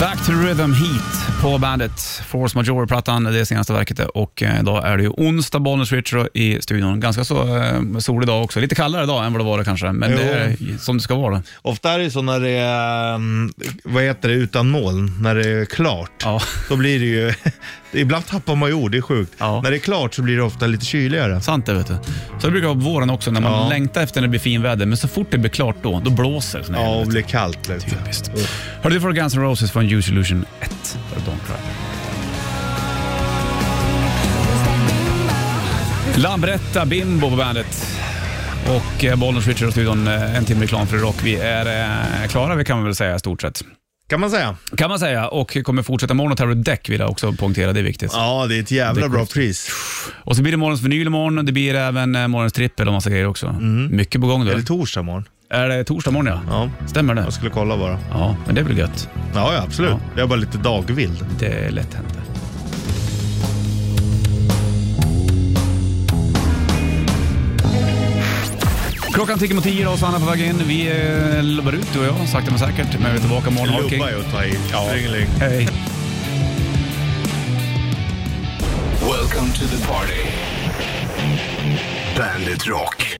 B: Back to Rhythm Heat på bandet. Force Major-plattan, det senaste verket. där. Och eh, idag är det ju onsdag, Bollnäs Rich i studion. Ganska så eh, solig dag också. Lite kallare idag än vad det var kanske, men det
C: Jo.
B: är som det ska vara.
C: Ofta är det så när det är, mm, vad heter det, utan moln, när det är klart.
B: Ja.
C: Då blir det ju, ibland tappar man ju ord, det är sjukt.
B: Ja.
C: När det är klart så blir det ofta lite kyligare.
B: Sant det, vet du. Så det brukar vara på våren också, när man
C: Ja.
B: längtar efter när det blir fin väder. Men så fort det blir klart då, då blåser det. sån här
C: Ja, och
B: helvete.
C: blir kallt lite.
B: Typiskt.
C: Usch.
B: Hörde du får Guns N' Roses från Use Illusion 1. Hörde Don't Cry. Lambretta Bimbo på bandet. Och eh, Bollnäs Richard och studion, eh, en timme reklam för rock. Vi är eh, klara, vi kan man väl säga i stort sett.
C: Kan man säga.
B: Kan man säga, och kommer fortsätta imorgon. Och Terror Deck vill jag också poängtera, det är viktigt.
C: Ja, det är ett jävla bra pris.
B: Och så blir det morgons vinyl imorgon, det blir även eh, morgons trippel och massa grejer också. Mycket på gång då.
C: Mm. Är det torsdag imorgon?
B: Är det torsdag morgon ja?
C: Ja.
B: Stämmer det?
C: Jag skulle kolla bara.
B: Ja, men det är väl gött.
C: Ja, ja absolut.
B: Ja.
C: Jag är bara lite dagvild.
B: Det är lätt hänt det. Klockan tickar mot tio och Sanna på väg in. Vi eh, lobbar ut du och jag, sakta men säkert. Men vi är tillbaka imorgon. Ha det king.
C: Lubba är att ta i. Ringeling.
B: Hej.
A: Welcome to the party. Bandit Rock.